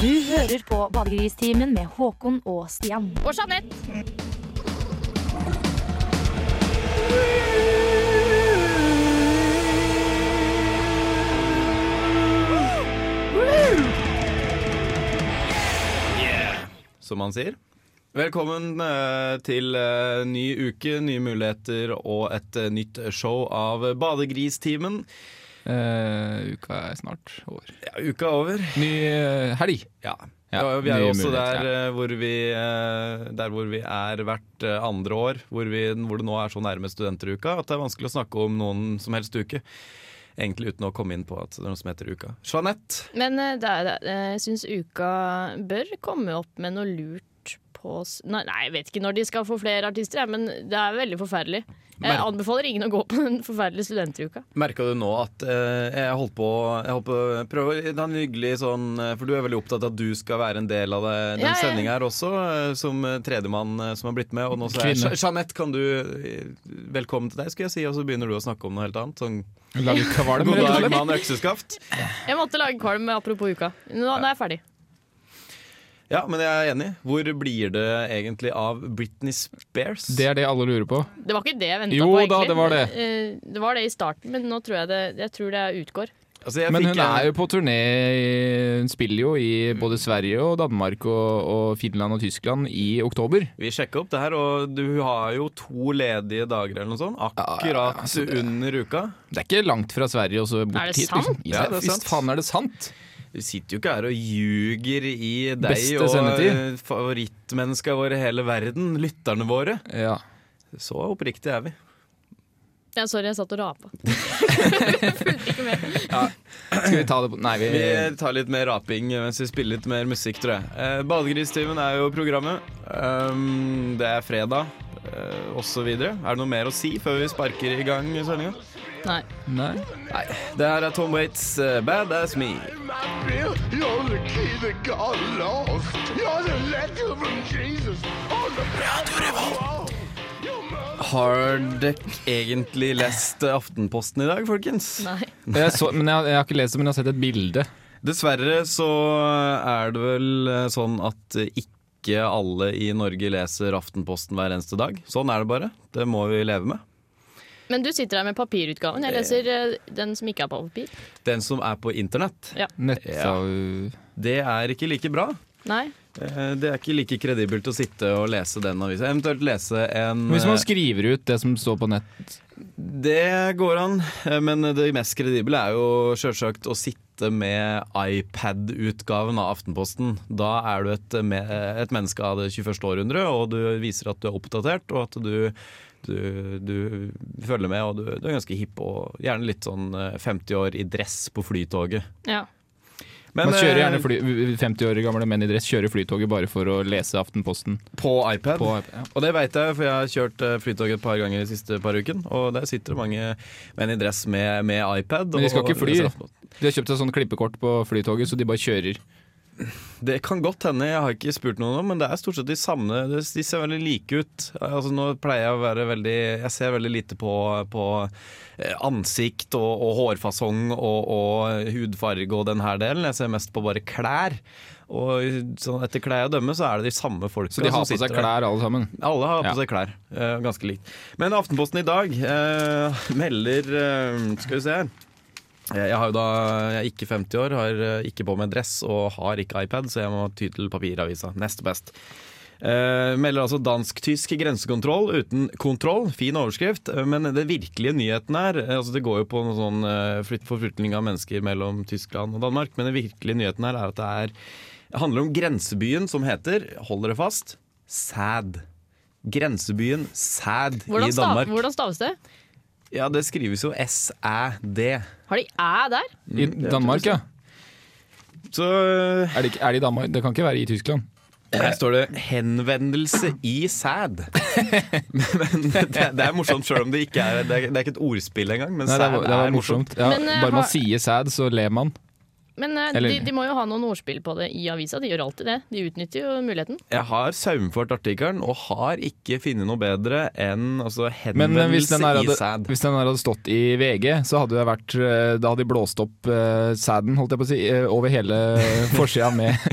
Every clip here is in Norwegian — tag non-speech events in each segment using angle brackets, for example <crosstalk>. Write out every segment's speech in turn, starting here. Du hører på Badegristimen med Håkon og Stian. Og Jeanette. som man sier. Velkommen eh, til eh, ny uke, nye muligheter og et eh, nytt show av Badegristimen. Eh, uka er snart over. Ja, uka er over. Ny eh, helg. Ja. Ja, Og vi er nye jo også muligheter, der, eh, hvor vi, eh, der hvor vi er hvert eh, andre år, hvor, vi, hvor det nå er så nærme studenteruka at det er vanskelig å snakke om noen som helst uke. Egentlig uten å komme inn på at det er noe som heter uka. Jeanette, Men eh, det er, det er, eh, jeg syns uka bør komme opp med noe lurt på s- Nei, nei, jeg vet ikke når de skal få flere artister, jeg, men det er veldig forferdelig. Jeg Mer- anbefaler ingen å gå på den forferdelige studentuka. merka du nå at eh, jeg holdt på Jeg holdt på å prøve å ha en hyggelig sånn eh, For du er veldig opptatt av at du skal være en del av det, den Ja, ja. sendinga her også, eh, som eh, tredjemann eh, som har blitt med. Og nå så er Kvinne. Je- Jeanette, kan du eh, Velkommen til deg, skulle jeg si, og så begynner du å snakke om noe helt annet. Sånn Lager kvalm, God rett og dag, slett. mann økseskaft. Jeg måtte lage kvalm apropos uka. Nå, nå er jeg ferdig. Ja, men jeg er enig. Hvor blir det egentlig av Britney Spears? Det er det alle lurer på. Det var ikke det jeg venta Jo på, egentlig. da, det var det. Eh, Det var det i starten, men nå tror jeg det, jeg tror det utgår. altså, jeg Men fikk hun en- Mm. er jo på turné i- Hun spiller jo i både Sverige og Danmark og, og Finland og Tyskland i oktober. Vi sjekka opp det her, og du har jo to ledige dager eller noe sånt. Akkurat altså, under uka. Det er ikke langt fra Sverige og så bort Er det hit. liksom. sant? Ja, Ja, det er sant. Visst faen er det sant! Vi sitter jo ikke her og ljuger i deg Beste og sendetid. eh, favorittmenneska våre i hele verden. Lytterne våre. Ja. Så oppriktig er vi. Ja, sorry, jeg satt og rapa. Fulgte ikke med. Skal vi ta det på Nei, vi Vi tar litt mer raping mens vi spiller litt mer musikk, tror jeg. Eh, Badegristimen er jo programmet. Um, det er fredag, eh, og så videre. Er det noe mer å si før vi sparker i gang sendinga? Nei. Nei. Nei. Det her er Tom Waits' eh, 'Bad As Me'. my bill. You're the key that got lost. You're the letter from Jesus on the back of the wall. You murdered Har dere egentlig lest eh, Aftenposten i dag, folkens? Nei. Jeg, så, men jeg, jeg har ikke lest det, men jeg har sett et bilde. Dessverre så er det vel eh, sånn at eh, ikke alle i Norge leser Aftenposten hver eneste dag. Sånn er det bare. Det må vi leve med. Men du sitter her med papirutgaven. Jeg leser eh, den som ikke er på papir. Den som er på internett, Nett, Ja. det er ikke like bra. Nei. Eh, Det er ikke like kredibelt å sitte og lese den avisa. Eventuelt lese en Hvis man eh, skriver ut det som står på nett Det går an, eh, men det mest kredible er jo sjølsagt å sitte med iPad-utgaven av Aftenposten. Da er du et, me- et menneske av det 21. århundre, og du viser at du er oppdatert, og at du, du, du følger med, og du, du er ganske hipp, og gjerne litt sånn eh, 50 år i dress på flytoget. Ja. Men, Man kjører gjerne eh, fly, 50 år gamle menn i dress kjører flytoget bare for å lese Aftenposten. på iPad. På, ja. Og det veit jeg, for jeg har kjørt eh, flytog et par ganger de siste par uken, og der sitter det mange menn i dress med, med iPad. Men de skal og- ikke fly. De har kjøpt seg sånn klippekort på flytoget, så de bare kjører. Det kan godt hende, jeg har ikke spurt noen om, men det er stort sett de samme. De de ser veldig like ut. Altså, nå pleier jeg å være veldig Jeg ser veldig lite på, på eh, ansikt og, og hårfasong og, og hudfarge og den her delen. Jeg ser mest på bare klær. Og sånn etter klær å dømme, så er det de samme folka Så de har på som seg sitter der. klær alle sammen. Alle har på Ja. seg klær. eh, ganske likt. Men Aftenposten i dag eh, <laughs> melder eh, Skal vi se her. Eh, Jeg jeg, har jo da, jeg er ikke 50 år, har eh, ikke på meg dress og har ikke iPad, så jeg må ty til papiravisa. Nest best. Eh, melder altså dansk-tysk grensekontroll uten kontroll. Fin overskrift. eh, Men den virkelige nyheten her eh, altså Det går jo på noen sånn eh, flytt- forflytning av mennesker mellom Tyskland og Danmark, men den virkelige nyheten her er at det er, handler om grensebyen som heter, hold dere fast, Sæd. Grensebyen Sæd i Hvordan, stav, Danmark. hvordan staves det? Ja, det skrives jo S-æ-d. Har de æ der? Mm. I Danmark, ja. Så eh, Er det, ikke- er det i Danmark? Det kan ikke være i Tyskland. her står det 'henvendelse i sæd'. <laughs> Men det, det er morsomt, sjøl om det ikke er Det er, det er ikke et ordspill engang, men Nei, det sæd var, det var er morsomt. morsomt. Ja, Men, eh, bare har- man sier sæd, så ler man. Men eh, Eller- de, de må jo ha noen ordspill på det i avisa. De gjør alltid det. De utnytter jo muligheten. Jeg har saumført artikkelen og har ikke funnet noe bedre enn altså, Men eh, hvis henvendelse den, her i hadde, sæd. hvis den her hadde stått i VG, så hadde det vært eh, Da hadde de blåst opp eh, sæden, holdt jeg på å si, eh, over hele <laughs> forsida med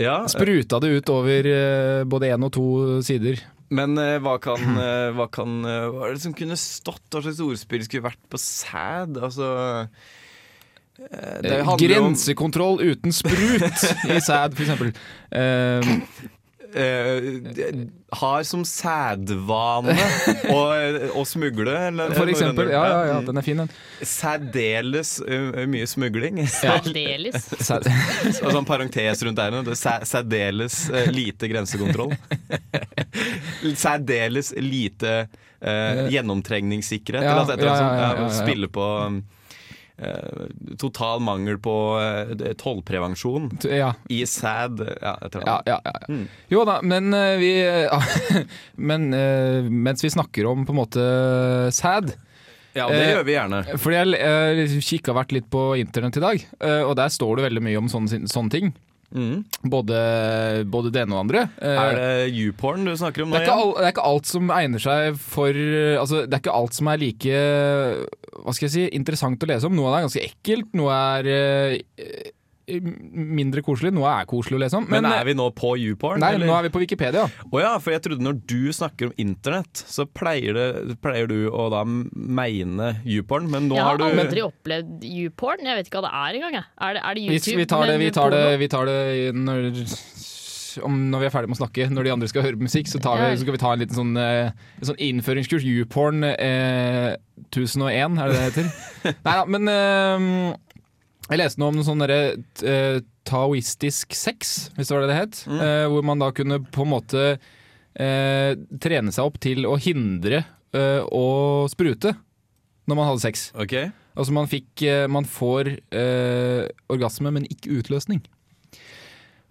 Ja, Spruta det ut over eh, både én og to sider. men eh, hva kan, eh, hva kan eh, Hva er det som kunne stått? Hva slags ordspill skulle vært på sæd? Altså eh, det handler om- Grensekontroll uten sprut i sæd, <laughs> f.eks. Uh, eh, det- har som sædvane å, å smugle. Eller, Mm. for eksempel. Ja, ja, ja, den er <laughs> fin, den. Særdeles eh, mye smugling. <laughs> <laughs> Særdeles. Sæd. Altså en parentes rundt der nå. Det er sæ- Særdeles eh, lite <laughs> grensekontroll. Særdeles lite eh, gjennomtrengningssikkerhet. Ja, eller altså et eller annet ja, ja, sånt, ja, ja, ja. Spille på eh, total mangel på eh, tollprevensjon Ja, i sæd. Ja, et eller ja, annet. ja, ja. Jo da, men eh, vi <laughs> Men eh, mens vi snakker om på en måte sæd ja, det det Eh, gjør gjør vi gjerne. Fordi jeg uh, kikka vært litt på internett i dag, eh, og der står det veldig mye om sånne, sånne ting. Både, både det ene og det andre. Eh, Mm. Er det YouPorn du snakker om nå det er, ikke igjen? all, det er ikke alt som egner seg for eh, altså, Det er ikke alt som er like Hva skal jeg si, interessant å lese om. Noe av det er ganske ekkelt, noe er eh, eh, mindre koselig, noe er koselig å lese om. Men er vi nå på YouPorn? eh, Nei, eller? nå er vi på Wikipedia. Å ja, for jeg trodde når du snakker om internett, så pleier, det, pleier du å da meine YouPorn, men nå Jeg har har du aldri opplevd YouPorn. Jeg vet ikke hva det er engang. jeg. Er det, er det Vi, YouTube? vi tar det, men vi tar det, porno? vi tar det i- når, om, når vi er ferdig med å snakke. Når de andre skal høre musikk, så, tar vi, så skal vi ta en liten sånn, eh, en sånn innføringskurs. YouPorn eh, 1001, er det det heter? Nei da, men eh, jeg leste noe om noe sånn derre eh, taoistisk sex, hvis det var det det het. Eh, hvor man da kunne på en måte eh, trene seg opp til å hindre eh, å sprute når man hadde sex. Ok, Altså man, fikk, eh, man får eh, orgasme, men ikke utløsning.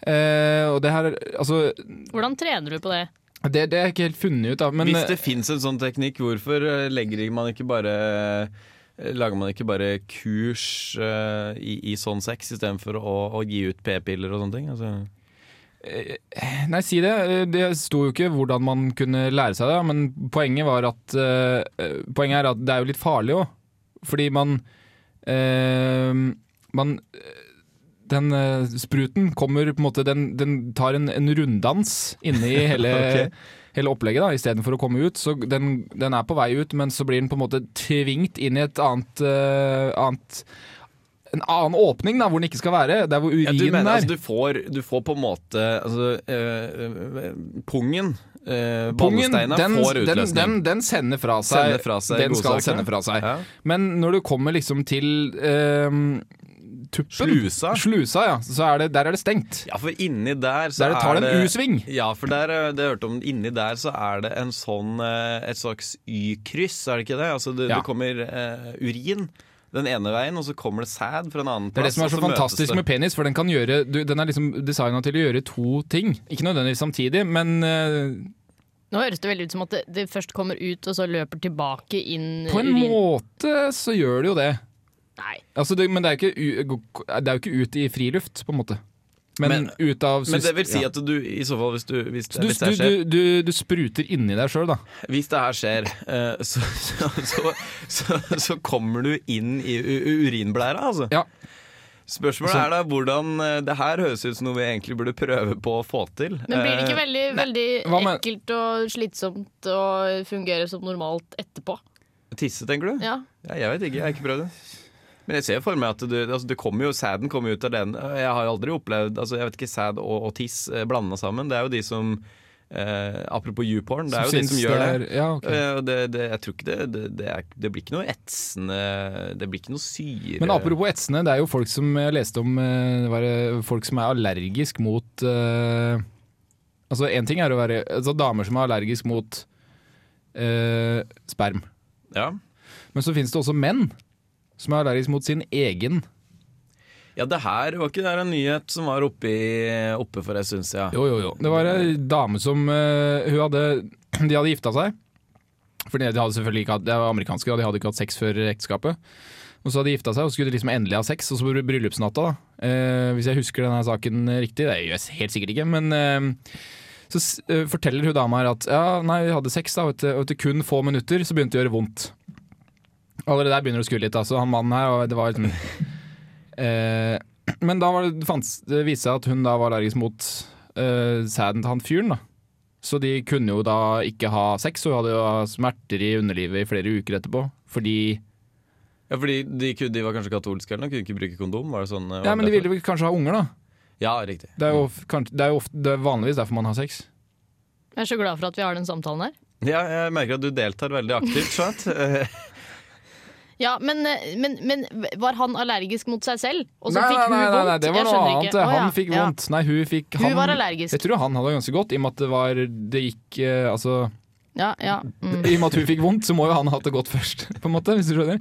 Eh, og det her Altså, Hvordan trener du på det? det, det er ikke helt funnet ut, da. Men eh, Hvis det fins en sånn teknikk, hvorfor eh, legger man ikke bare eh, Lager man ikke bare kurs eh, i, i sånn sex istedenfor å, å gi ut p-piller og sånne ting? Altså, eh, Nei, si det. Eh, Det sto jo ikke hvordan man kunne lære seg det, men poenget var at eh, eh, Poenget er at det er jo litt farlig òg. Fordi man eh, Man Den eh, spruten kommer på en måte Den, den tar en, en runddans inni <laughs> hele Ok. hele opplegget da, istedenfor å komme ut. Så den, den er på vei ut, men så blir den på en måte tvingt inn i et annet, eh, annet en annen åpning da, hvor den ikke skal være. Der hvor ja, du urinen mener er. altså, du, får, du får på en måte altså, eh, eh, Pungen, eh, Pungen, ballesteina, den, får den, utløsning. den, den sender fra seg, Sender fra seg den skal godsakene. sende fra seg. Ja. Men når du kommer liksom til eh, tuppen Slusa. Slusa, ja. Så er det, der er det stengt. Ja, for inni der så Der det tar det en U-sving. Ja, for der, eh, det jeg hørte om, inni der så er det en sånn, eh, et slags Y-kryss, er det ikke det? Altså det, Ja. det kommer eh, urin den ene veien, og så kommer det sæd fra en annen Det er det plass. som er så og møtes fantastisk det. med penis, for den kan gjøre du, Den er liksom designa til å gjøre to ting. Ikke nødvendigvis samtidig, men eh, Nå høres det veldig ut som at det, det først kommer ut, og så løper tilbake inn På en urin. måte så gjør det jo det. Nei. Altså det men det er, jo ikke, u- det er jo ikke ut i friluft, på en måte. Men, Men- ut av Men det vil si ja. at du i så fall, hvis, du, hvis, du, hvis, det, her du, skjer, du, du, du spruter inni deg sjøl, da. hvis det her skjer, eh, så, så, så, så, så kommer du inn i u- u- urinblæra, altså. Ja. Spørsmålet er da hvordan eh, Det her høres ut som noe vi egentlig burde prøve på å få til. Men blir det ikke Eh, veldig, veldig hva med- ekkelt og slitsomt å fungere som normalt etterpå? Tisse, tenker du? Ja. Ja, jeg vet ikke, jeg har ikke prøvd det. Men jeg ser for meg at du, altså, det kommer jo, sæden kommer ut av den. Jeg har jo aldri opplevd altså, Jeg vet ikke, sæd og, og tiss eh, blanda sammen. Det er jo de som eh, Apropos YouPorn, det er jo de som syns gjør det. er- Ja, ok. Eh, og det, det, jeg tror ikke det det, det, er, det blir ikke noe etsende Det blir ikke noe syre. Men apropos etsende, det er jo folk som jeg leste om eh, det var eh, folk som er allergisk mot eh, Altså, én ting er å være altså, damer som er allergisk mot eh, sperm. ja. Men så finnes det også menn som er allergisk mot sin egen. ja, det her var ikke det her en nyhet som var oppe, i, oppe for en stund siden. Jo, jo, jo. Det var ei dame som eh, hun hadde, De hadde gifta seg. For de hadde selvfølgelig ikke hatt, det var amerikanske, og de hadde ikke hatt sex før ekteskapet. Og så hadde de gifta seg og skulle liksom endelig ha sex, og så på bryllupsnatta, da. Eh, hvis jeg husker denne saken riktig, det gjør jeg helt sikkert ikke, men eh, så s- eh, forteller hun dama her at ja, nei, vi hadde sex, da, og etter, og etter kun få minutter så begynte det å gjøre vondt. Allerede der begynner det å skure litt, da, så han mannen her, og det var liksom eh, Men da var det, det fantes, det viste seg at hun da var allergisk mot eh, sæden til han fyren, da. Så de kunne jo da ikke ha sex, og hun hadde jo smerter i underlivet i flere uker etterpå. Fordi Ja, fordi de, kunne- de var kanskje katolske eller noe, kunne ikke bruke kondom? Var det sånn, eh, Ja, var men de det ville vel kanskje ha unger, da. derfor? Ja, riktig. Det er jo, of- kanskje, det er jo ofte, det er vanligvis derfor man har sex. Jeg er så glad for at vi har den samtalen her. Ja, jeg merker at du deltar veldig aktivt, skjønt. <laughs> Eh, Ja, men, eh, men, men var han allergisk mot seg selv? Og så nei, fikk hun nei, nei, vondt? nei, det var Jeg noe skjønner annet. ikke. Å, ja. Han fikk Ja. vondt. Nei, hun fikk Hun han, var allergisk. Jeg tror han hadde det ganske godt, i og med at det var Det gikk eh, Altså Ja, ja. Mm. I og med at hun fikk vondt, så må jo han ha hatt det godt først, <laughs> på en måte. Hvis du skjønner.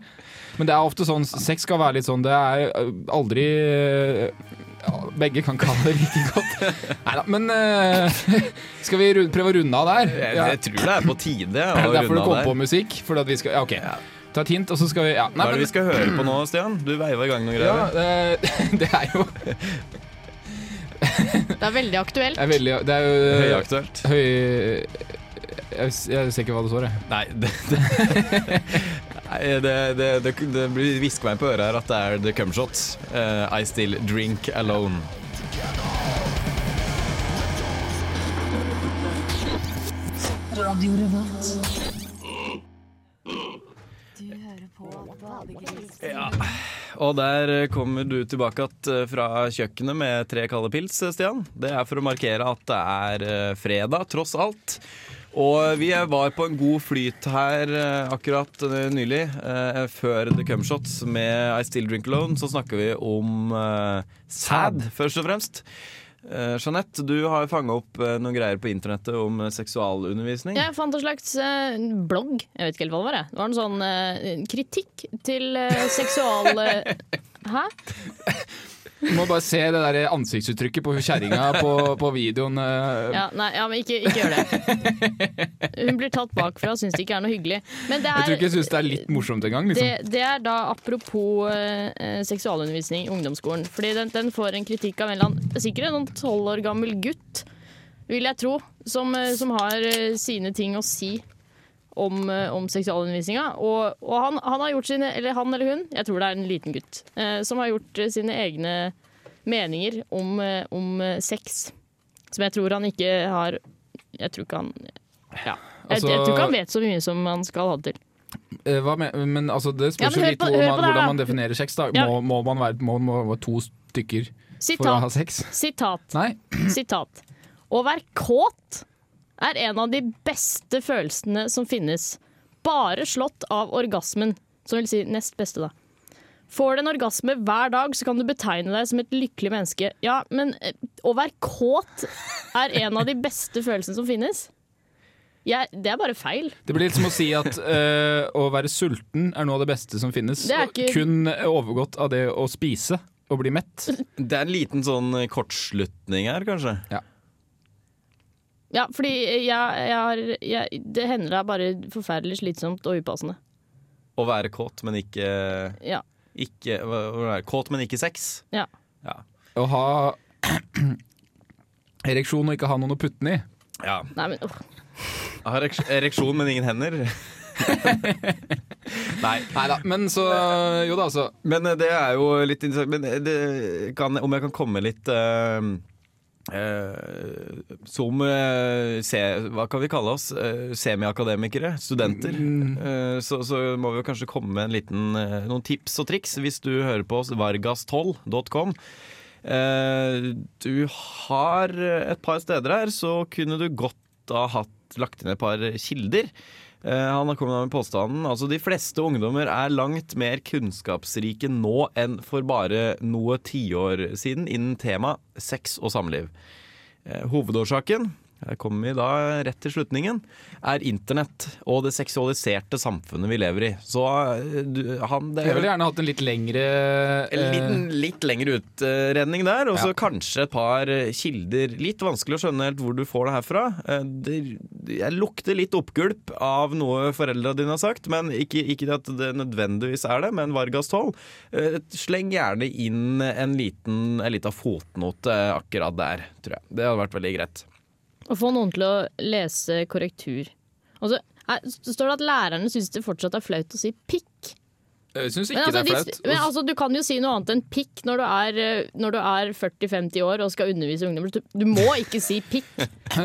Men det er ofte sånn Sex skal være litt sånn Det er eh, aldri eh, ja, Begge kan ikke ha det like godt. <laughs> Nei da, men eh, Skal vi ru- prøve å runde av der? jeg, Ja. jeg tror <laughs> det er på tide å Det er derfor runde du kom av på der. musikk. Fordi at vi skal, ja, ok Ta et hint, og så skal vi ja. Hva Nei, er det men- vi skal høre på nå, Stian? Du veiva i gang noen ja, greier. eh, <laughs> det er jo det Det er <laughs> veldig aktuelt. er veldig Det er eh, jo Høyaktuelt. høy, jeg, jeg ser ikke hva det står, jeg. <laughs> Nei, det, det, <laughs> nei, det, det, det, det blir hviska meg på øret her at det er the cumshot. Eh, I still drink alone. Og der kommer du tilbake att eh, fra kjøkkenet med tre kalde pils, eh, Stian. Det er for å markere at det er eh, fredag, tross alt. Og vi var på en god flyt her eh, akkurat eh, nylig, eh, før The Cumshots med I Still Drink Alone. Så snakker vi om eh, sæd, først og fremst. Eh, Jeanette, du har fanga opp eh, noen greier på internettet om eh, seksualundervisning. Jeg fant en slags eh, blogg, jeg vet ikke helt hva det var. jeg. Det var en sånn eh, kritikk til eh, seksual... eh, <laughs> Hæ? Du må bare se det der ansiktsuttrykket på hun kjerringa på, på videoen. eh. Ja, nei, ja, men ikke, ikke gjør det. <laughs> Hun blir tatt bakfra og syns det ikke er noe hyggelig. Men det Jeg tror er, ikke hun syns det er litt morsomt engang. Liksom. det, det er da apropos eh, eh, seksualundervisning i ungdomsskolen. Fordi den, den får en kritikk av en eller annen, sikkert en sånn tolv år gammel gutt, vil jeg tro, som, eh, som har eh, sine ting å si om, eh, om seksualundervisninga. Og, og han, han har gjort sine, eller han eller hun, jeg tror det er en liten gutt, eh, som har gjort eh, sine egne meninger om, eh, om eh, sex. Som jeg tror han ikke har Jeg tror ikke han ja. jeg, Altså- jeg tror ikke han vet så mye som han skal ha det til. Eh, Hva men, men altså, det Ja, spørs men jo hør litt på- hvordan hør man, på det her, hvordan da. man definerer sex. Da. Ja. Må, må man være må, må, være to stykker for å Sitat. ha sex? sitat. Nei? Sitat. Å være kåt er en av de beste følelsene som finnes. Bare slått av orgasmen, som vil si nest beste, da. Får du en orgasme hver dag, så kan du betegne deg som et lykkelig menneske. Ja, men eh, å være kåt er en av de beste følelsene som finnes. Jeg, det er bare feil. Det blir litt som å si at eh, å være sulten er noe av det beste som finnes. Det er ikke- Kun overgått av det å spise og bli mett. <laughs> Det er en liten sånn eh, kortslutning her, kanskje. Ja, fordi jeg, jeg har jeg, Det hender det er bare forferdelig slitsomt og upassende. Å være kåt, men ikke, Ja. ikke hva- hva er det? Kåt, men ikke sex. ja. Ja. Å ha <clears throat> ereksjon og ikke ha noen å putte den i. ja. Nei, men åh. Jeg har ereks- ereksjon, men ingen hender. <laughs> Nei. Neida, Men så Jo da, altså. Men eh, det er jo litt interessant Men eh, det kan, om jeg kan komme litt eh, eh, Som eh, se, Hva kan vi kalle oss? Eh, Semiakademikere? Studenter? eh, så, så må vi jo kanskje komme med en liten, eh, noen tips og triks hvis du hører på oss. Vargas12.com. Eh, du har et par steder her, så kunne du godt ha hatt, lagt inn et par kilder. Eh, han har kommet med påstanden altså de fleste ungdommer er langt mer kunnskapsrike nå enn for bare noe tiår siden innen tema sex og samliv. Eh, hovedårsaken Her kommer vi da rett til slutningen. Er internett og det seksualiserte samfunnet vi lever i. Så eh, du, han det Jeg er ville gjerne hatt en litt lengre en liten, litt lengre utredning der, og så Eh. Ja. kanskje et par eh, kilder. Litt vanskelig å skjønne helt hvor du får det her fra. Eh, Det, jeg lukter litt oppgulp av noe foreldra dine har sagt, men ikke, ikke at det nødvendigvis er det, men Vargas 12. eh, Sleng gjerne inn en liten, en liten fotnote akkurat der, tror jeg. Det hadde vært veldig greit. Å få noen til å lese korrektur. Og så er- så står det at lærerne syns det fortsatt er flaut å si pikk. eh, Jeg syns ikke Men, altså, det er de- flaut. men altså, du kan jo si noe annet enn pikk når du er, eh, når du er 40-50 år og skal undervise ungdommer. Du- Du må ikke si <laughs> pikk.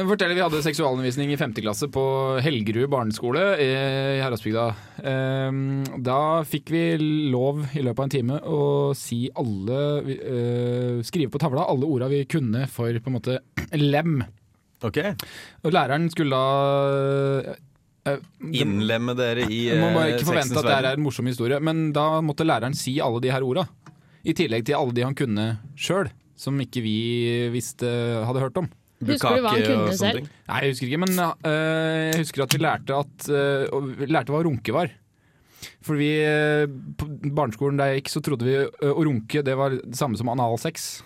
Fortell, Vi hadde seksualundervisning i 5. klasse på Helgerud barneskole i i Heradsbygda. Ehm, Da fikk vi lov i løpet av en time å si alle vi- eh, Skrive på tavla alle orda vi kunne for på en måte <clears throat> lem. Ok, Og læreren skulle da eh, det- Innlemme dere i eh, Man må ikke forvente sexens at det her verden. er en morsom historie, men da måtte læreren si alle de her orda. I tillegg til alle de han kunne sjøl, som ikke vi visste hadde hørt om. Husker du hva han Bukake og kunne sånne selv? ting. Nei, jeg husker ikke, men øh, jeg husker at vi lærte, at, øh, og vi lærte hva runke var. For vi, øh, på barneskolen der jeg gikk, så trodde vi øh, å runke det var det samme som analsex.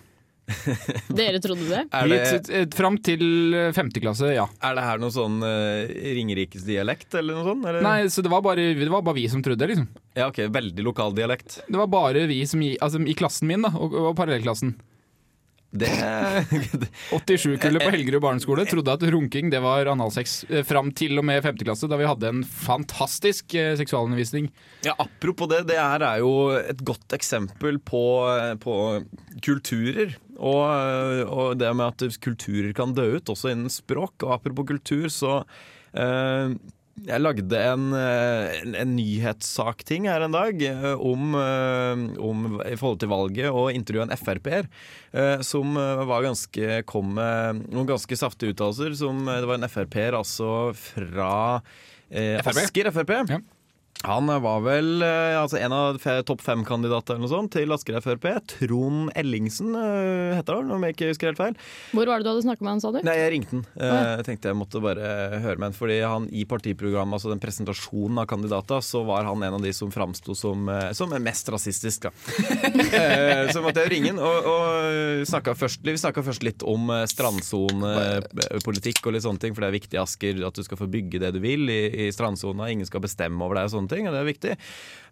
<laughs> Dere trodde det? Er det, Vi- t- t- Fram til øh, femte klasse, ja. er det her noe sånn uh, Ringerikesdialekt eller noe sånt? Eller? Nei, så det var, bare, det var bare vi som trodde det, liksom. Ja, ok, veldig lokal dialekt. Det var bare vi som, i- altså, i klassen min, da, og, og parallellklassen. Det, det <laughs> 87-kullet på Helgerud barneskole trodde at runking det var analsex eh, fram til og med 5. klasse, da vi hadde en fantastisk eh, seksualundervisning. Ja, apropos det, det her er jo et godt eksempel på, på kulturer. Og, og det med at kulturer kan dø ut, også innen språk. Og apropos kultur, så eh, Jeg lagde en, eh, en, en nyhetssakting her en dag eh, om, eh, om i forhold til valget og intervjua en Frp-er eh, som eh, var ganske, kom med noen ganske saftige uttalelser. som, eh, Det var en Frp-er altså fra eh, FrP? Asker Frp. Ja. Han var vel eh, altså en av fe- topp fem-kandidater eller noe sånt til Asker Frp. Trond Ellingsen eh, heter han, om jeg ikke husker helt feil. Hvor var det du hadde snakka med han, sa du? Nei, jeg ringte han. Eh, Jeg tenkte jeg måtte bare høre med han. Fordi han i partiprogrammet, altså den presentasjonen av kandidater, så var han en av de som framsto som, eh, som er mest rasistisk, da. Eh, så måtte jeg ringe han, og, og snakka først, vi snakka først litt om eh, strandsonepolitikk og litt sånne ting, for det er viktig, Asker, at du skal få bygge det du vil i, i strandsona. Ingen skal bestemme over deg og sånne ting, og det er viktig.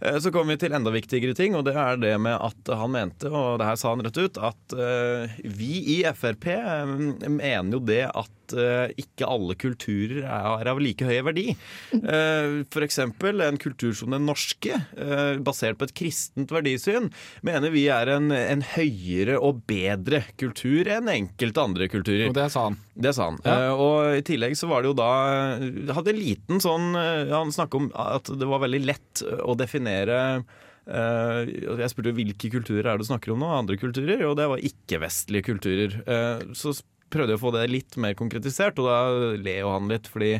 Eh, Så kom vi til enda viktigere ting, og det er det med at han mente, og det her sa han rett ut, at eh, vi i Frp eh, mener jo det at eh, ikke alle kulturer er av like høy verdi. Eh, For eksempel en kultur som den norske, eh, basert på et kristent verdisyn, mener vi er en, en høyere og bedre kultur enn enkelte andre kulturer. Og det sa han. Det sa han. Ja. Eh, og i tillegg så var det jo da eh, Hadde en liten sånn eh, Han snakka om at det var veldig lett å definere eh, Jeg spurte hvilke kulturer er det du snakker om nå? Andre kulturer? Og det var ikke-vestlige kulturer. Eh, så s- prøvde jeg å få det litt mer konkretisert, og da ler jo han litt. Fordi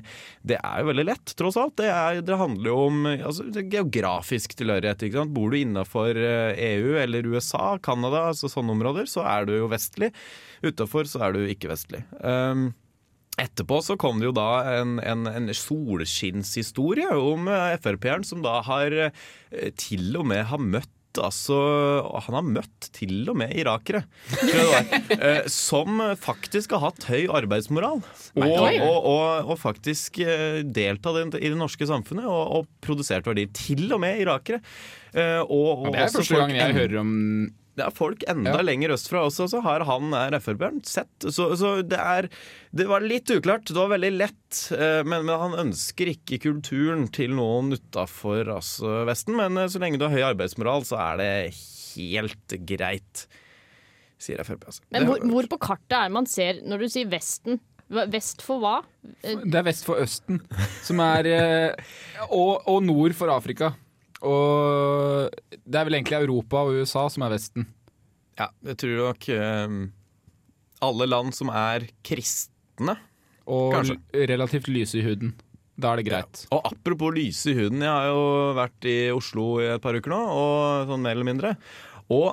det er jo veldig lett, tross alt. Det, er, det handler jo om eh, altså, det er geografisk tilhørighet. Ikke sant? Bor du innafor EU eller USA, Canada, altså sånne områder, så er du jo vestlig. Utafor så er du ikke-vestlig. Um, Etterpå så kom det jo da en, en, en solskinnshistorie om eh, Frp-eren som da har eh, til og med har møtt Altså, han har møtt til og med irakere tror jeg det <laughs> var, eh, som faktisk har hatt høy arbeidsmoral. Og, Oi. og, og, og faktisk eh, deltatt i det- i det norske samfunnet og, og produsert verdier. Til og med irakere. Eh, Og, og Det er også første folk gangen jeg hører om det er folk enda Ja. lenger østfra også, så har han er Frp-eren sett. Så, så det er Det var litt uklart. Det var veldig lett. eh, Men, men han ønsker ikke kulturen til noen utafor altså, Vesten. Men eh, så lenge du har høy arbeidsmoral, så er det helt greit, sier Frp. Altså. Men hvor, hvor på kartet er det man ser når du sier Vesten? Hva- Vest for hva? Det er vest for Østen, som er eh, og, og nord for Afrika. Og det er vel egentlig Europa og USA som er Vesten. Ja, jeg tror nok eh, alle land som er kristne Og Kanskje. l- relativt lyse i huden. Da er det greit. Og apropos lyse i huden, jeg har jo vært i Oslo i et par uker nå, og sånn mer eller mindre. Og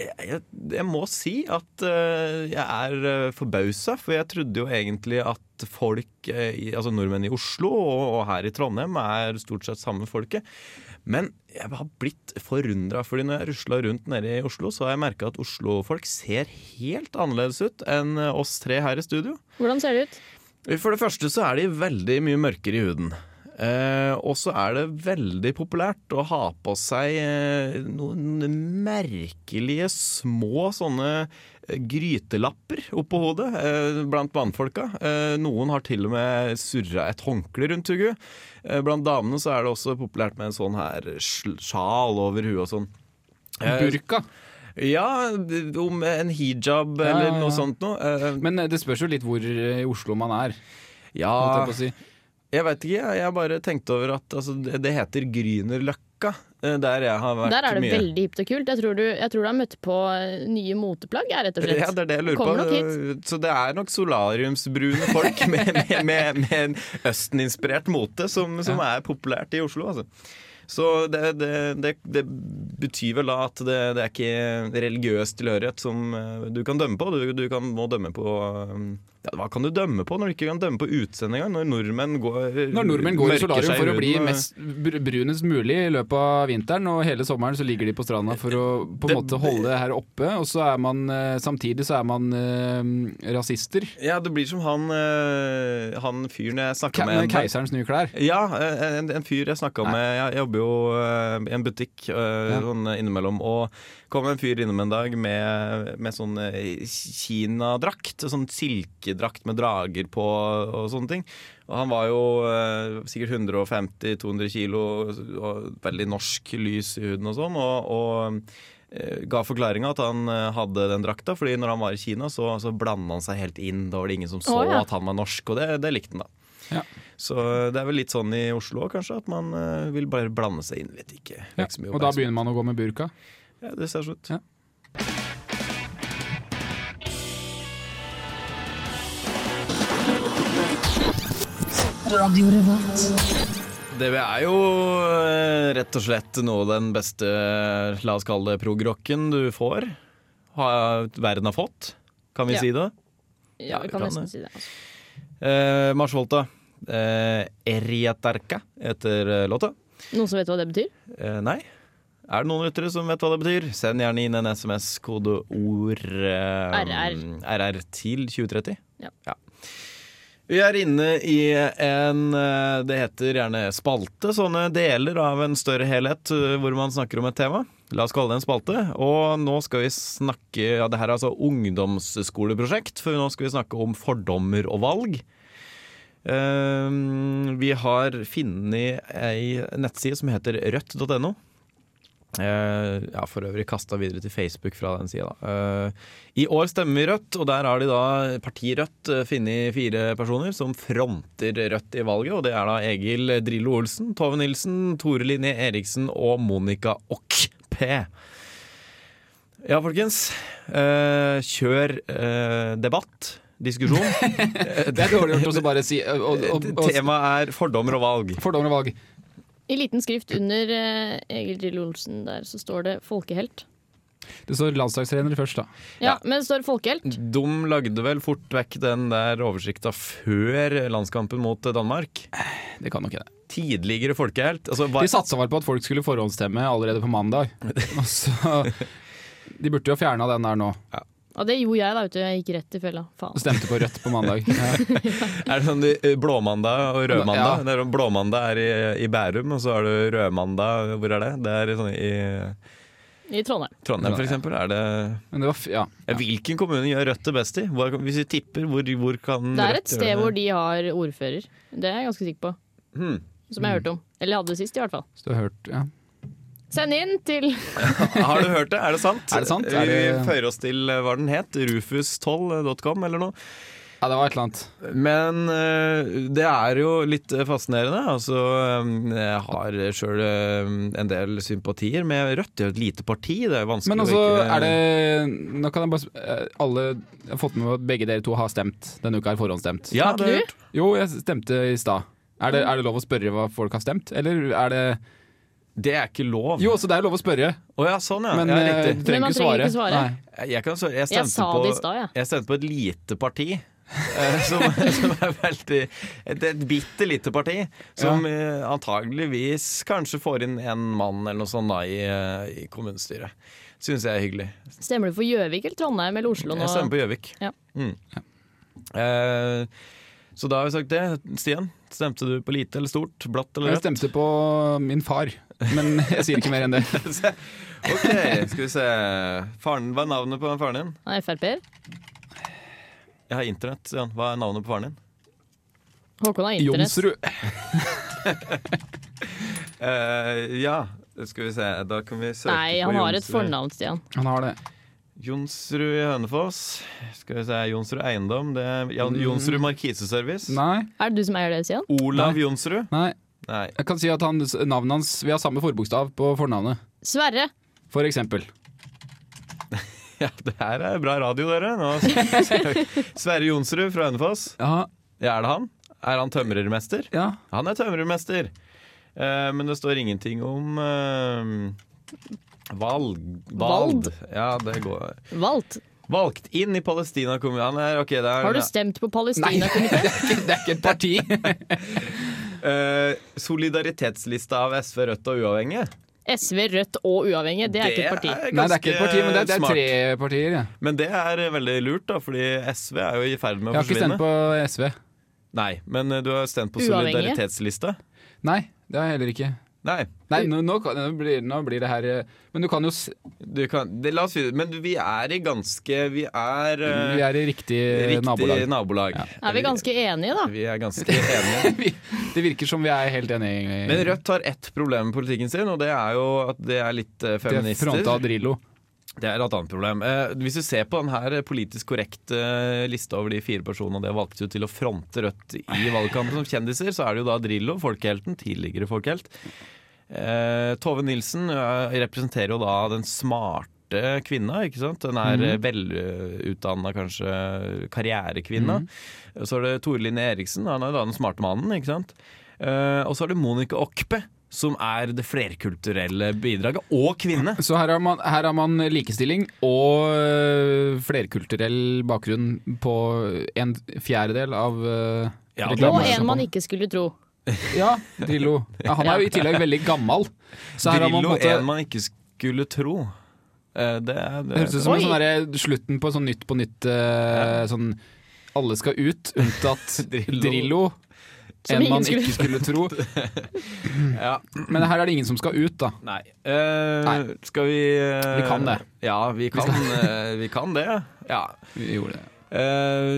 jeg, jeg, jeg må si at eh, jeg er uh, forbausa, for jeg trodde jo egentlig at folk, eh, i, altså nordmenn i Oslo og, og her i Trondheim, er stort sett samme folket. Men jeg har blitt forundra, fordi når jeg rusla rundt nede i Oslo, så har jeg merka at oslofolk ser helt annerledes ut enn eh, oss tre her i studio. Hvordan ser det ut? For det første så er de veldig mye mørkere i huden. Eh, og så er det veldig populært å ha på seg eh, noen merkelige små sånne eh, grytelapper oppå hodet eh, blant mannfolka. Eh, noen har til og med surra et håndkle rundt hodet. Eh, blant damene så er det også populært med en sånn her sl- sjal over huet og sånn. Eh, Burka. ja, d- om en hijab eller ja, ja. noe sånt noe. Eh, Men eh, det spørs jo litt hvor eh, i Oslo man er. holdt ja. jeg på å si. Jeg veit ikke, jeg- jeg bare tenkte over at altså, det det heter Grünerløkka. eh, Der jeg har vært mye. Der er det veldig hipt og kult. Jeg tror du, jeg tror du har møtt på eh, nye moteplagg, jeg, rett og slett. Ja, det er det jeg lurer Kommer på. nok hit. Så det er nok solariumsbrune <laughs> folk med, med, med, med en Østen-inspirert mote som, som er populært i Oslo, altså. Så det, det, det, det betyr vel da at det, det er ikke religiøs tilhørighet som eh, du kan dømme på. Du, du kan, må dømme på eh, ja, Hva kan du dømme på når du ikke kan dømme på utseendet engang? Når nordmenn går Når nordmenn går i Ah. mørker seg solarium for å bli huden eh. og- mest br- brunest mulig i løpet av vinteren, og hele sommeren så ligger de på stranda for å på en måte holde det her oppe, og så er man eh, samtidig så er man eh, rasister. Ja, det blir som han, eh, han fyren jeg snakka Ke med. keiserens nye klær. <laughs> Ja, eh, en, en fyr jeg snakka Nei. med. Jeg jobber jo eh, i en butikk eh, sånn innimellom. Og kom en fyr innom en dag med, med sånn eh, kinadrakt. Sånn silkedrakt med drager på og sånne ting. Og han var jo eh, sikkert 150-200 kilo og veldig norsk lys i huden og sånn. Og, og eh, ga forklaringa at han eh, hadde den drakta, fordi når han var i Kina, så, så blanda han seg helt inn. Da var det ingen som så Å, ja. at han var norsk, og det, det likte han, da. Så det er vel litt sånn i Oslo også, kanskje, at man eh, vil bare blande seg inn. Vet ikke. Ja. Ikke så mye Og da oppmerksomhet. begynner man å gå med burka. ja, Det ser sånn ut. Ja. Det er jo eh, rett og slett noe av den beste, la oss kalle det progrocken, du får. Har, verden har fått, kan vi Ja. si det. Ja, vi kan kan nesten det. si det. Altså. Eh, Marsvolta. Eh, Erieterka heter eh, låta. Noen som vet hva det betyr? Eh, nei. Er det noen lyttere som vet hva det betyr? Send gjerne inn en SMS, kodeord eh, RR. RR til 2030. Ja. Vi er inne i en eh, Det heter gjerne spalte. Sånne deler av en større helhet eh, hvor man snakker om et tema. La oss kalle det en spalte. Og nå skal vi snakke Ja, det her er altså ungdomsskoleprosjekt, for nå skal vi snakke om fordommer og valg. Eh, Vi har funnet ei nettside som heter rødt.no. Eh, ja, for øvrig kasta videre til Facebook fra den sida. Eh, I år stemmer vi Rødt, og der har de da partiet Rødt eh, funnet fire personer som fronter Rødt i valget. Og det er da Egil Drillo Olsen, Tove Nilsen, Tore Linje Eriksen og Monica Okp. Ja, folkens. Eh, kjør eh, debatt. Diskusjon. Det er dårlig gjort å så bare si eh, og, og, og, Temaet er fordommer og valg. Fordommer og valg. I liten skrift under eh, Egil Drillo Olsen der, så står det 'folkehelt'. Det står landslagstrener først, da. Ja, men det står 'folkehelt'. De lagde vel fort vekk den der oversikta før landskampen mot Danmark. Det kan nok det. tidligere folkehelt. Altså, hva, De satsa vel på at folk skulle forhåndsstemme allerede på <laughs> mandag. Og så, de burde jo fjerna den der nå. Og det gjorde jeg da, vet du. Jeg gikk rett i fella. Faen. Stemte på Rødt på <laughs> mandag. er det sånn eh, blåmandag og rødmandag? Ja. Det er sånn Blåmandag er i, i Bærum, og så er det rødmandag Hvor er det? Det er i sånn i I Trondheim. Trondheim, for eksempel. Er det Men det var, f- ja. ja, Hvilken kommune gjør Rødt det best i? Hva, hvis vi tipper, hvor, hvor kan Det er Rødt et gjøre sted det? hvor de har ordfører. Det er jeg ganske sikker på. Hmm. Som jeg hørte om. Eller hadde sist, i hvert fall. Så du har hørt ja. Send inn til Har du hørt det? Er det sant? Er det sant? Vi Er det- føyer oss til eh, hva den het, rufus12.com eller noe. ja, det var et eller annet. Men eh, det er jo litt fascinerende. Altså, eh, jeg har sjøl en del sympatier med Rødt. Det er jo et lite parti. Det er jo vanskelig Men altså, å ikke er det Nå kan jeg bare sp- eh, Alle jeg har fått med meg at begge dere to har stemt denne uka. har forhåndsstemt. ja, Har det er du? gjort. Jo, jeg stemte i stad. Er det, er det lov å spørre hva folk har stemt, eller er det Det er ikke lov. Jo, så det er lov å spørre, Å ja, sånn ja. men ja eh, riktig. du Men trenger man ikke svare. trenger ikke svare. Nei. Jeg, kan, svare- jeg, stemte Jeg sa på, det i stad, jeg. Jeg stemte på et lite parti. eh, som, <laughs> som er veldig Et, et bitte lite parti. Som eh, antageligvis kanskje får inn en mann eller noe sånt da i, eh, i kommunestyret. Syns jeg er hyggelig. Stemmer du for Gjøvik eller Trondheim eller Oslo nå? Jeg stemmer på Gjøvik. Ja. Mm. Eh, så da har vi sagt det. Stian, stemte du på lite eller stort? Blatt eller Jeg rødt? stemte på min far, men jeg sier ikke mer <laughs> enn det. <laughs> OK, skal vi se. Faren, hva er navnet på faren din? Han er Frp-er. Jeg har internett, Stian. Hva er navnet på faren din? Håkon har internett. Jonsrud. Eh, ja, skal vi se. Da kan vi søke Nei, på han har et Jonsrud. fornavn, Stian. Han har det. Jonsrud i Hønefoss. Skal vi se. Jonsrud Eiendom. Det er Jan- Mm. Jonsrud Markiseservice. Nei, Er det du som eier det, Stian? Olav Nei. Jonsrud. nei. Nei. <laughs> Jeg kan si at han, navnet hans Vi har samme forbokstav på fornavnet, Sverre! for eksempel. Ja, det her er bra radio, dere. Nå ser vi. <laughs> Sverre Jonsrud fra Hønefoss. Ja, Ja, er det han? Er han tømrermester? ja. Han er tømrermester. Eh, men det står ingenting om eh, valg... Vald. Ja, det går Valgt. Valgt inn i Palestina-kommunen. Han er- ok, det er- Har du stemt på Nei, <laughs> Palestina? <laughs> det er, ikke, det er ikke <laughs> et parti! Eh, solidaritetslista av SV, Rødt og Uavhengige. SV, Rødt og Uavhengig, det er ikke et parti. Nei, det er ikke et parti, men det er, det er tre partier. Ja. Men det er eh, veldig lurt, da, fordi SV er jo i ferd med å Jeg har ikke forsvinne. stemt på SV. Nei, men eh, du har stemt på Uavhengige? solidaritetslista? Nei, det har jeg heller ikke. Nei. Nei, nå, nå, kan, nå, blir, nå blir det her eh, Men du kan jo s- Du kan, det, la oss videre. Men vi er i ganske Vi er, eh, Vi er i riktig, riktig nabolag. Eh, nabolag. Er vi ganske enige, da? Vi er ganske enige. <laughs> Vi- Det virker som vi er helt enige. Men Rødt har ett problem med politikken sin, og det er jo at det er litt eh, Det er feminister. fronta av Drillo. Det er et annet problem. Eh, hvis du ser på den her politisk korrekte lista over de fire personene de har valgt ut til å fronte Rødt i valgkampen som kjendiser, så er det jo da Drillo, folkehelten, tidligere folkehelt. Eh, Tove Nilsen eh, representerer jo da den smarte kvinna, ikke sant? Den er mm. velutdanna, kanskje, karrierekvinna. Så er det Tore Linné Eriksen, han er da den smarte mannen, ikke sant? Eh, og så er det Monica Okpe, som er det flerkulturelle bidraget, og kvinne. Så her har, man, her har man likestilling og øh, flerkulturell bakgrunn på en fjerdedel av øh, Ja, reklamen. Og en man ikke skulle tro. Ja, Drillo. Ja, han er jo i tillegg veldig gammel. Så her har man Drillo, på en en måte man ikke skulle tro. Eh, Det er det det. høres ut som en Oi. sånn derre slutten på sånn Nytt på nytt øh, sånn alle skal ut, unntatt <laughs> Drillo. Drillo. Som en ingen man skulle- ikke skulle tro. Ja, Men her er det ingen som skal ut, da. nei. Eh, Nei. Skal vi eh, Vi kan det. Ja, vi kan, eh, vi kan det. Ja. Vi gjorde det. Eh,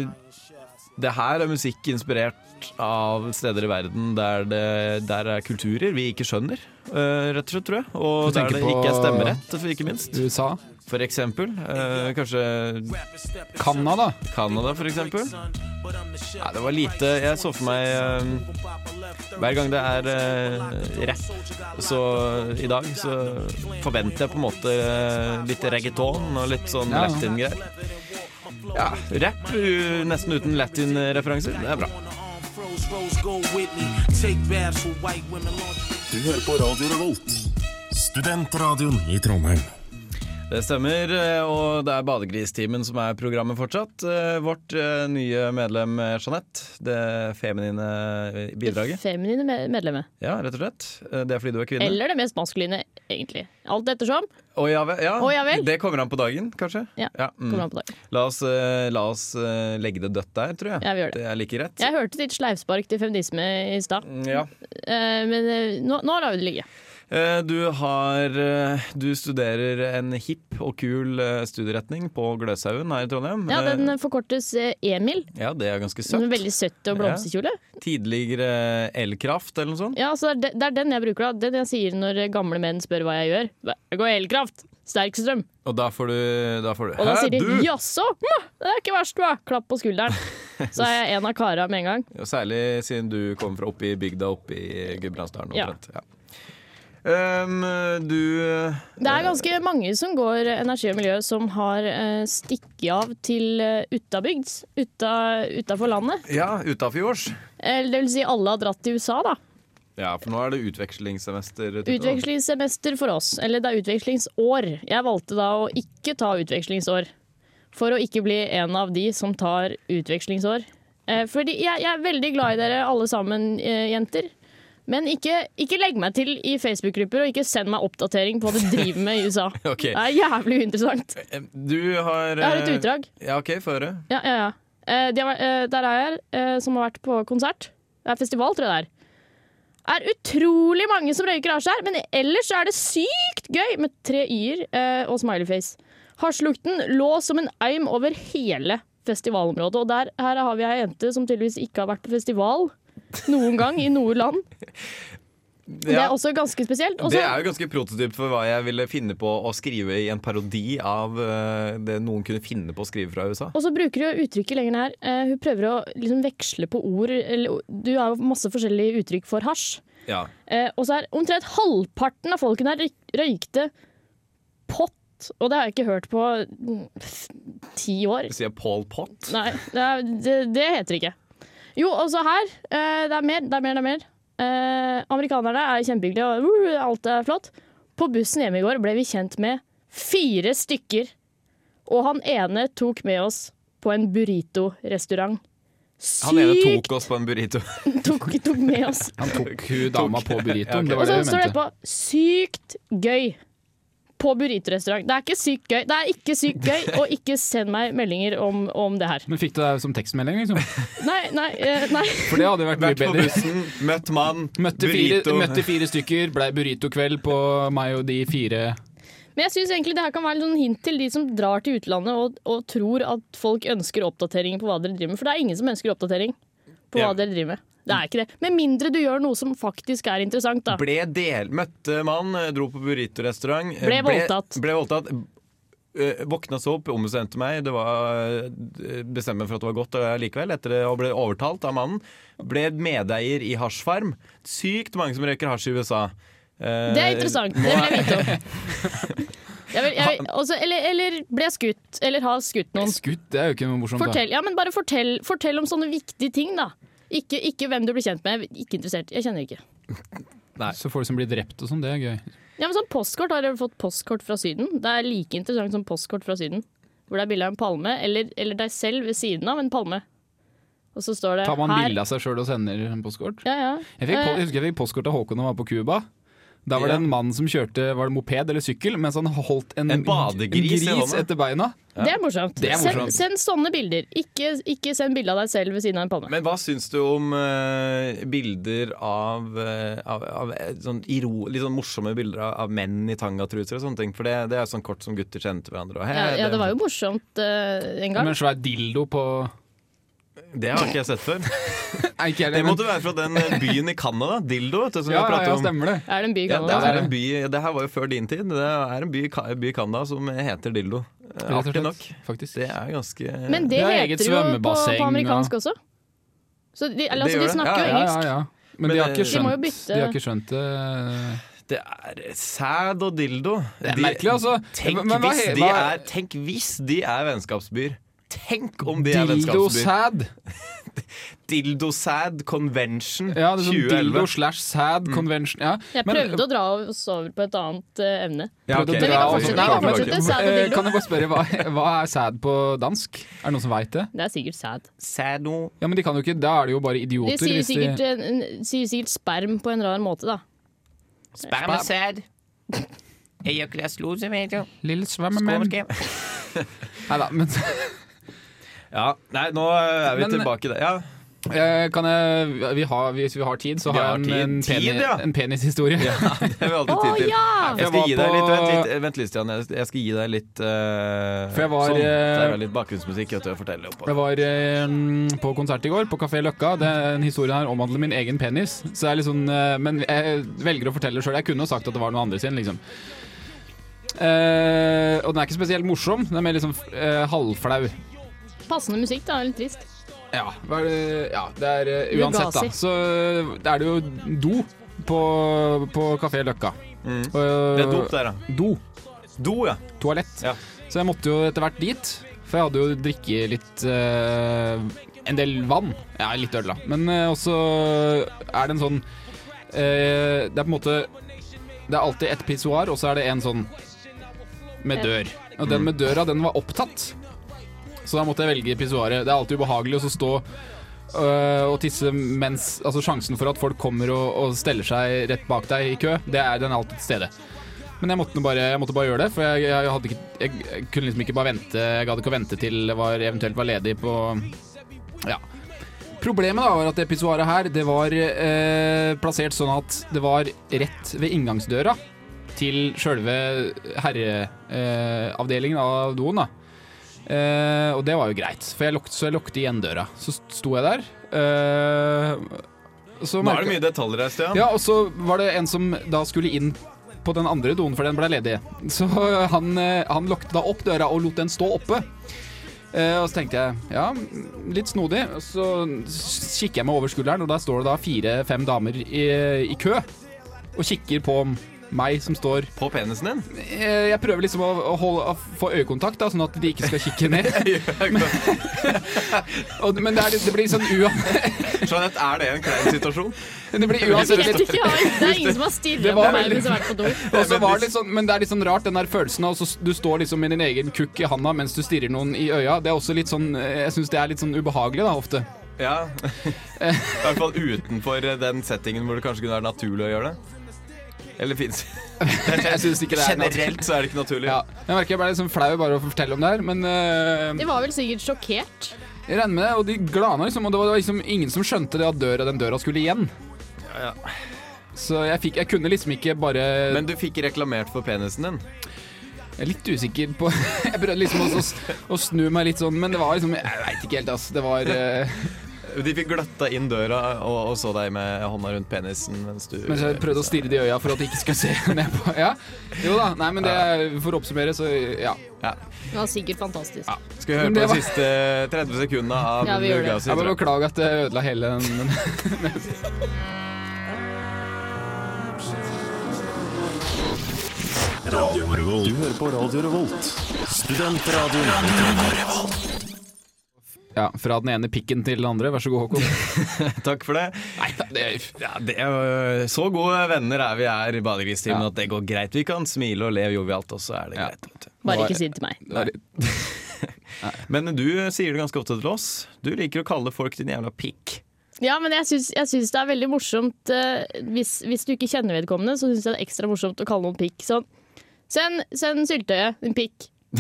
det her er musikk inspirert av steder i verden der det der er kulturer vi ikke skjønner, eh, rett og slett, tror jeg. Og Du der tenker det på- ikke er stemmerett, ikke minst. USA. For eksempel. eh, kanskje Canada. Canada, for eksempel. Ja, det var lite Jeg så for meg eh, Hver gang det er eh, rapp, så i dag så forventer jeg på en måte eh, litt reggaeton og litt sånn Ja. latin-greier. Ja, rapp u- nesten uten latin-referanser. Det er bra. Du hører på Radio Revolt, studentradioen i Trondheim. Det stemmer, eh, og det er Badegristimen som er programmet fortsatt. Eh, Vårt eh, nye medlem eh, Jeanette, det feminine eh, bidraget. Feminine me- medlemmer. Ja, rett og slett. Eh, Det er fordi du er kvinne. Eller det mest maskuline, egentlig. Alt ettersom. Å ja vel. Ja. Å ja vel. Det kommer an på dagen, kanskje? Ja, mm. Kommer an på dag. La oss, eh, la oss eh, legge det dødt der, tror jeg. Ja, vi gjør det. er like greit. Jeg hørte ditt sleivspark til feminisme i stad, Mm, Ja. eh, men eh, nå, nå lar vi det ligge. Eh, Du har eh, Du studerer en hipp og kul eh, studieretning på Gløshaugen her i Trondheim. Ja, Eh, Den forkortes eh, Emil. ja, det er ganske søtt. Den er veldig søtt og blomsterkjole. Tidligere Elkraft eller noe sånt. Ja, så det, er de- det er den jeg bruker, da. Den jeg sier når gamle menn spør hva jeg gjør. Hva- Jeg går elkraft! Sterk strøm. Og da får du, da får du Og da Hæ, sier de du! 'jaså, mwah, det er ikke verst', hva? Klapp <laughs> på skulderen. Så er jeg en av kara med en gang. Og Særlig siden du kommer fra oppe i bygda oppe i Gudbrandsdalen. Ja. omtrent. Ja. Ehm, du Det er ganske mange som går eh, energi og miljø som har eh, stikket av til eh, utabygds. Uta, utafor landet. Ja, utafjords. Eller det vil si alle har dratt til USA, da. Ja, for nå er det utvekslingssemester. Tutu, da. Utvekslingssemester for oss. Eller det er utvekslingsår. Jeg valgte da å ikke ta utvekslingsår. For å ikke bli en av de som tar utvekslingsår. Eh, Fordi jeg, jeg er veldig glad i dere alle sammen, eh, jenter. Men ikke, ikke legg meg til i Facebook-grupper, og ikke send meg oppdatering på hva du driver med i USA. Ok. Det er jævlig uinteressant. Eh, Du har Jeg har et eh, utdrag. Ja, OK, få høre. Ja, ja, ja. Eh, de har, vært- eh, der er jeg, eh, som har vært på konsert. Det er festival, tror jeg det er. Er utrolig mange som røyker hasj her, men ellers er det sykt gøy med tre y-er eh, og smileyface. Hasjlukten lå som en eim over hele festivalområdet, og der her har vi ei jente som tydeligvis ikke har vært på festival noen gang i noe <laughs> land. Det Ja, er også ganske spesielt. Og det så- er jo ganske prototyp for hva jeg ville finne på å skrive i en parodi av eh, det noen kunne finne på å skrive fra USA. Og så bruker hun uttrykket lenger ned. Eh, hun prøver å liksom veksle på ord. Eller, du har jo masse forskjellige uttrykk for hasj. Ja. Eh, og så er omtrent halvparten av folkene her røy- røykte pott, og det har jeg ikke hørt på mm, f- ti år. Sier jeg Paul Pott? Nei, det, er, det, det heter det ikke. Jo, og så her. Eh, det er mer, det er mer, det er mer. Eh, amerikanerne er kjempehyggelige, og uh, alt er flott. På bussen hjemme i går ble vi kjent med fire stykker, og han ene tok med oss på en burrito-restaurant. Han ene Sykt tok oss på en burrito. tok, tok med oss Han <laughs> tok hun dama på burritoen. Det Og var så det står det jeg mente. etterpå 'sykt gøy' på burritorestaurant. Det er ikke sykt gøy. Det er ikke <laughs> sykt gøy, og ikke send meg meldinger om, om det her. Men fikk du det som tekstmelding, liksom? Nei, nei, eh, nei. For det hadde vært mye Vært på bedre. bussen, møtt mann, Møtte fire, burrito. møtte fire stykker, blei burritokveld på meg og de fire Men jeg syns egentlig det her kan være litt sånn hint til de som drar til utlandet og, og tror at folk ønsker oppdatering på hva dere driver med, for det er ingen som ønsker oppdatering på hva Ja. dere driver med. Det er ikke det. Med mindre du gjør noe som faktisk er interessant, da. Ble del, møtte mann, eh, dro på burritorestaurant. eh, Ble voldtatt. Ble voldtatt. Eh, Våkna så opp, ombestemte meg. Det var, eh, bestemte meg for at det var godt eh, likevel, etter det, og ble overtalt av mannen. Ble medeier i hasjfarm. Sykt mange som røyker hasj i USA. Eh, Det er interessant. Det vil jeg vite om. <laughs> Jeg vil, jeg vil, også, eller, eller ble skutt. Eller har skutt noen. Skutt, det er jo ikke noe morsomt. da. Fortell, ja, men bare fortell, fortell om sånne viktige ting, da. Ikke, ikke hvem du blir kjent med. Ikke interessert. Jeg kjenner ikke. Så folk som blir drept og sånn, det er gøy. Ja, men sånn postkort, Har dere fått postkort fra Syden? Det er like interessant som postkort fra Syden. Hvor det er bilde av en palme, eller, eller deg selv ved siden av en palme. Og så står det Tar man her- bilde av seg sjøl og sender en postkort? Ja, ja. Jeg, fikk, po- Eh, jeg husker jeg fikk postkort av Håkon da han var på Cuba. Da var det Ja. en mann som kjørte var det moped eller sykkel mens han holdt en, En badegris i en gris hånda. etter beina. Det er morsomt. Det er morsomt. Send, send sånne bilder. Ikke, ikke send bilde av deg selv ved siden av en palme. Men hva syns du om eh, bilder av, eh, av, av eh, sånn iro, litt sånn morsomme bilder av, av menn i tangatruser og sånne ting? For det, det er jo sånn kort som gutter kjenner til hverandre. Og, ja, «Hei, ja, det var jo morsomt eh, en gang. Med en svær dildo på det har ikke jeg sett før. Nei, ikke jeg Det heller, men måtte være fra den eh, byen i Canada, Dildo, vet du, som vi <laughs> ja, har ja, pratet ja, om. stemmer det. Er det en by altså? i Ja, det, Canada? er en by, det her var jo før din tid. Det er en by, i Ka- by i Canada som heter Dildo. Eh, Rett og Artig slett, nok. Faktisk. Det er ganske Men det, Det er eget heter jo på, svømmebasseng, på amerikansk ja. også. Så de, eller, Det altså, gjør de det. Ja, snakker ja, jo ja, engelsk. ja. Men, Men eh, de, har det- ikke De må jo skjønt, de, bytte- har ikke skjønt eh, det. Det er sæd og dildo. Det er merkelig, altså. Tenk, Men- men hva hvis he- de hva- er, tenk hvis de er vennskapsbyer. Tenk om de er Dildo vennskapsbyer. sad. Dildosad Convention Ja, det er sånn dildo 2011. slash sad Mm. convention. Ja. Jeg Men- prøvde å dra oss over på et annet eh, emne. Ja, ok. Prøvde å Men vi dra kan oss- fortsette, Nei, vi kan nei, fortsette. men- Sad og sånn eh, dildo. Kan jeg bare spørre, hva, <laughs> hva er sad på dansk? Er det noen som veit det? Det er sikkert sad. Sædo. Ja, men de kan jo ikke, Da er det jo bare De idioter. sier hvis sikkert, eh, de, en- en- sier sikkert sperm på en rar måte, da. Spermasæd. Ejakulasjon, vet du. Lille svømmemenn. Skålskrem. <laughs> Neida, men Ja, nei, nå er vi Men- tilbake der. Ja. <laughs> eh, kan jeg vi har, Hvis vi har tid, så Vi har har jeg tid. en, en, Tid, peni, ja. en penishistorie. Det har vi Å alltid tid til. ja! Jeg Jeg skal var gi deg på- litt, vent litt, eh, vent litt Stian. Jeg- Jeg skal gi deg litt eh, For jeg var, sånn. Det eh, er litt bakgrunnsmusikk vet du, jeg forteller opp Jeg var eh, på konsert i går, på Kafé Løkka. Den historien her omhandler min egen penis, så jeg er litt sånn, eh, men jeg velger å fortelle det sjøl. Jeg kunne jo sagt at det var noen andre sin, liksom. Eh, og den er ikke spesielt morsom, den er mer liksom eh, halvflau. Passende musikk, da. Litt trist. Ja, hva er det, ja, det er eh, uansett, da. Lugasi. Så eh, er det jo do på, på Kafé Løkka. Mm. Og- Det er dop der, da. do. Do, ja. Toalett. Ja. Så jeg måtte jo etter hvert dit, for jeg hadde jo drikket litt eh, En del vann. Ja, litt øl, da. Men eh, også er det en sånn Eh, det er på en måte Det er alltid et pissoar, og så er det en sånn med dør. Og den med døra, den var opptatt. Så da måtte jeg velge pissoaret. Det er alltid ubehagelig å så stå øh, og tisse mens Altså sjansen for at folk kommer og, og steller seg rett bak deg i kø, det er den er alltid til stede. Men jeg måtte, nå bare, jeg måtte bare gjøre det, for jeg, jeg, hadde ikke, jeg, jeg kunne liksom ikke bare vente Jeg gadd ikke å vente til det var, eventuelt var ledig på Ja. Problemet da var at det pissoaret her Det var øh, plassert sånn at det var rett ved inngangsdøra til sjølve herreavdelingen av doen. da Eh, og det var jo greit, for jeg lukte, så jeg lukte igjen døra. Så st- sto jeg der. eh, så Nå er det mye detaljer her, Stian. ja, og så var det en som da skulle inn på den andre doen, for den ble ledig. Så han, eh, han lokket da opp døra og lot den stå oppe. Eh, og så tenkte jeg ja, litt snodig. Og Så s- kikker jeg meg over skulderen, og der står det da fire-fem damer i, i kø og kikker på meg som står På penisen din? Eh, Jeg prøver liksom å, å, holde, å få øyekontakt, da, sånn at de ikke skal kikke <laughs> ned. <laughs> Og, men det, er, det blir sånn uan... Jeanette, er det en klein situasjon? <laughs> Det blir Jeg uansett vet litt ikke, jeg har- det er ingen som <laughs> Det har var stirret på meg veldig- mens jeg har vært på do. Og så var det litt sånn, men det er litt sånn rart, den der følelsen av at du står liksom med din egen kukk i handa mens du stirrer noen i øya. Det er også litt sånn, jeg syns det er litt sånn ubehagelig, da, ofte. Ja. I hvert fall utenfor eh, den settingen hvor det kanskje kunne være naturlig å gjøre det. Eller fins <laughs> Jeg synes ikke det er noe- Generelt så er det ikke naturlig. <laughs> Ja. Jeg merker jeg ble litt sånn flau bare å fortelle om det her, men eh, De var vel sikkert sjokkert. jeg regner med det. Og de glana liksom, og det var liksom ingen som skjønte det at døra, den døra skulle igjen. Ja, ja. Så jeg, fikk, jeg kunne liksom ikke bare Men du fikk reklamert for penisen din. Jeg er litt usikker på <laughs> Jeg prøvde liksom å, å snu meg litt sånn, men det var liksom Jeg veit ikke helt, ass. Det var eh, De fikk gløtta inn døra og, og så deg med hånda rundt penisen mens du Mens jeg prøvde å stirre det i øya for at de ikke skulle se <laughs> ned på Ja, jo da, nei, men det er- for å oppsummere, så ja. Ja. Det var sikkert fantastisk. Skal vi høre Men på det de var- siste 30 sekundene av Ja, vi gjør det. Lugas Jeg bare beklager at jeg ødela hele den men- Radio Revolt. Du hører på Radio Revolt. Studentradioen. Ja, fra den ene pikken til den andre. Vær så god, Håkon. Takk for det. ja, det er, øh, så gode venner er vi her i Badegristimen Ja. at det går greit. Vi kan smile og le jovialt, og så er det Ja. greit. Vet du. Bare ikke si det til meg. Det var- Men du sier det ganske ofte til oss. Du liker å kalle folk din jævla pikk. Ja, men jeg syns, jeg syns det er veldig morsomt eh, hvis, hvis du ikke kjenner vedkommende, så syns jeg det er ekstra morsomt å kalle noen pikk. Sånn Send, send syltetøyet, din pikk.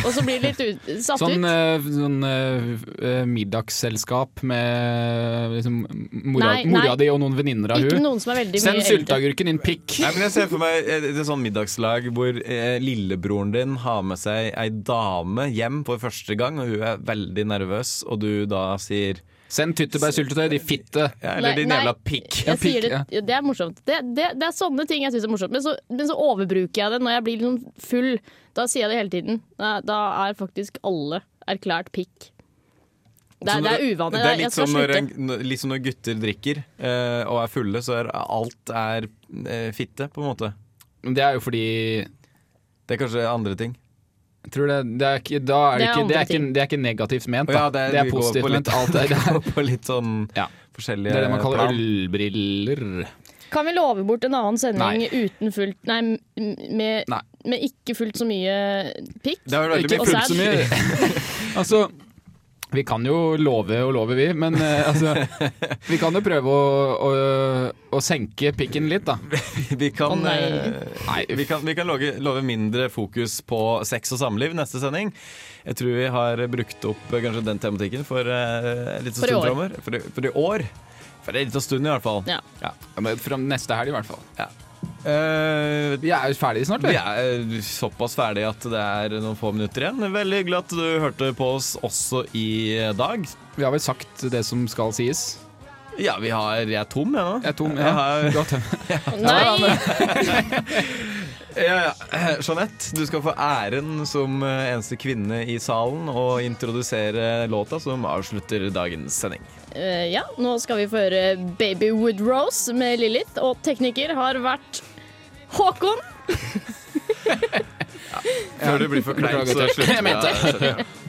Og så blir det litt ut, satt Sånn, ut. eh, sånn eh, eh, middagsselskap med liksom mora, Nei, nei. mora di og noen venninner av Ikke hun noen som er veldig Send mye eldre. sylteagurken inn pikk. Nei, men Jeg ser for meg et, et sånn middagslag hvor eh, lillebroren din har med seg ei dame hjem for første gang, og hun er veldig nervøs, og du da sier Send tyttebærsyltetøy, de fitte. ja, Eller Nei, din nei. jævla pikk. Ja, Jeg sier pikk, det, det er morsomt. Det, det, det er sånne ting jeg syns er morsomt. Men så, men så overbruker jeg det når jeg blir liksom full. Da sier jeg det hele tiden. Da, da er faktisk alle erklært pikk. Det, Så er- når- det er uvane. Det er Jeg litt skal som når, slutte. en- når- litt som når gutter drikker eh, og er fulle, så er alt er eh, fitte, på en måte. Men Det er jo fordi Det er kanskje andre ting. Jeg tror det, det, er ikke, da er det, Det er ikke, det, er andre ikke, det er ikke negativt ment, Å da. ja, det, er, vi går positivt på litt- ment. Alt er, <laughs> det, <laughs> er, På litt sånn Ja. forskjellige det er det <laughs> man kaller plan. ølbriller. Kan vi love bort en annen sending Nei. uten fullt Nei, m- med, Nei. med ikke fullt så mye pikk? Det er vel veldig Ikke Og mye fullt sæd. så mye. <laughs> altså, vi kan jo love og love, vi, men eh, altså Vi kan jo prøve å, å, å senke pikken litt, da. Vi kan, Å, nei. eh, Nei, vi kan, vi kan love, love mindre fokus på sex og samliv neste sending. Jeg tror vi har brukt opp eh, kanskje den tematikken for eh, en liten For i stund år. framover. For, i- for i år. For en liten stund, i hvert fall. Ja. Ja, men Fra neste helg, i hvert fall. Eh, Vi er jo ferdige snart, vi vi. er eh, såpass ferdige at det er noen få minutter igjen. Veldig hyggelig at du hørte på oss også i dag. Vi har vel sagt det som skal sies. Ja, vi har Jeg er tom, jeg nå. Jeg er tom. Jeg Ja. har- Godt. Nei! Ja, ja. Eh, Jeanette, du skal få æren som eh, eneste kvinne i salen å introdusere låta som avslutter dagens sending. Eh, ja, nå skal vi få høre Baby Wood Rose med Lilith, og tekniker har vært Håkon. Før du blir for klein, så Beklager, <laughs> slutter jeg.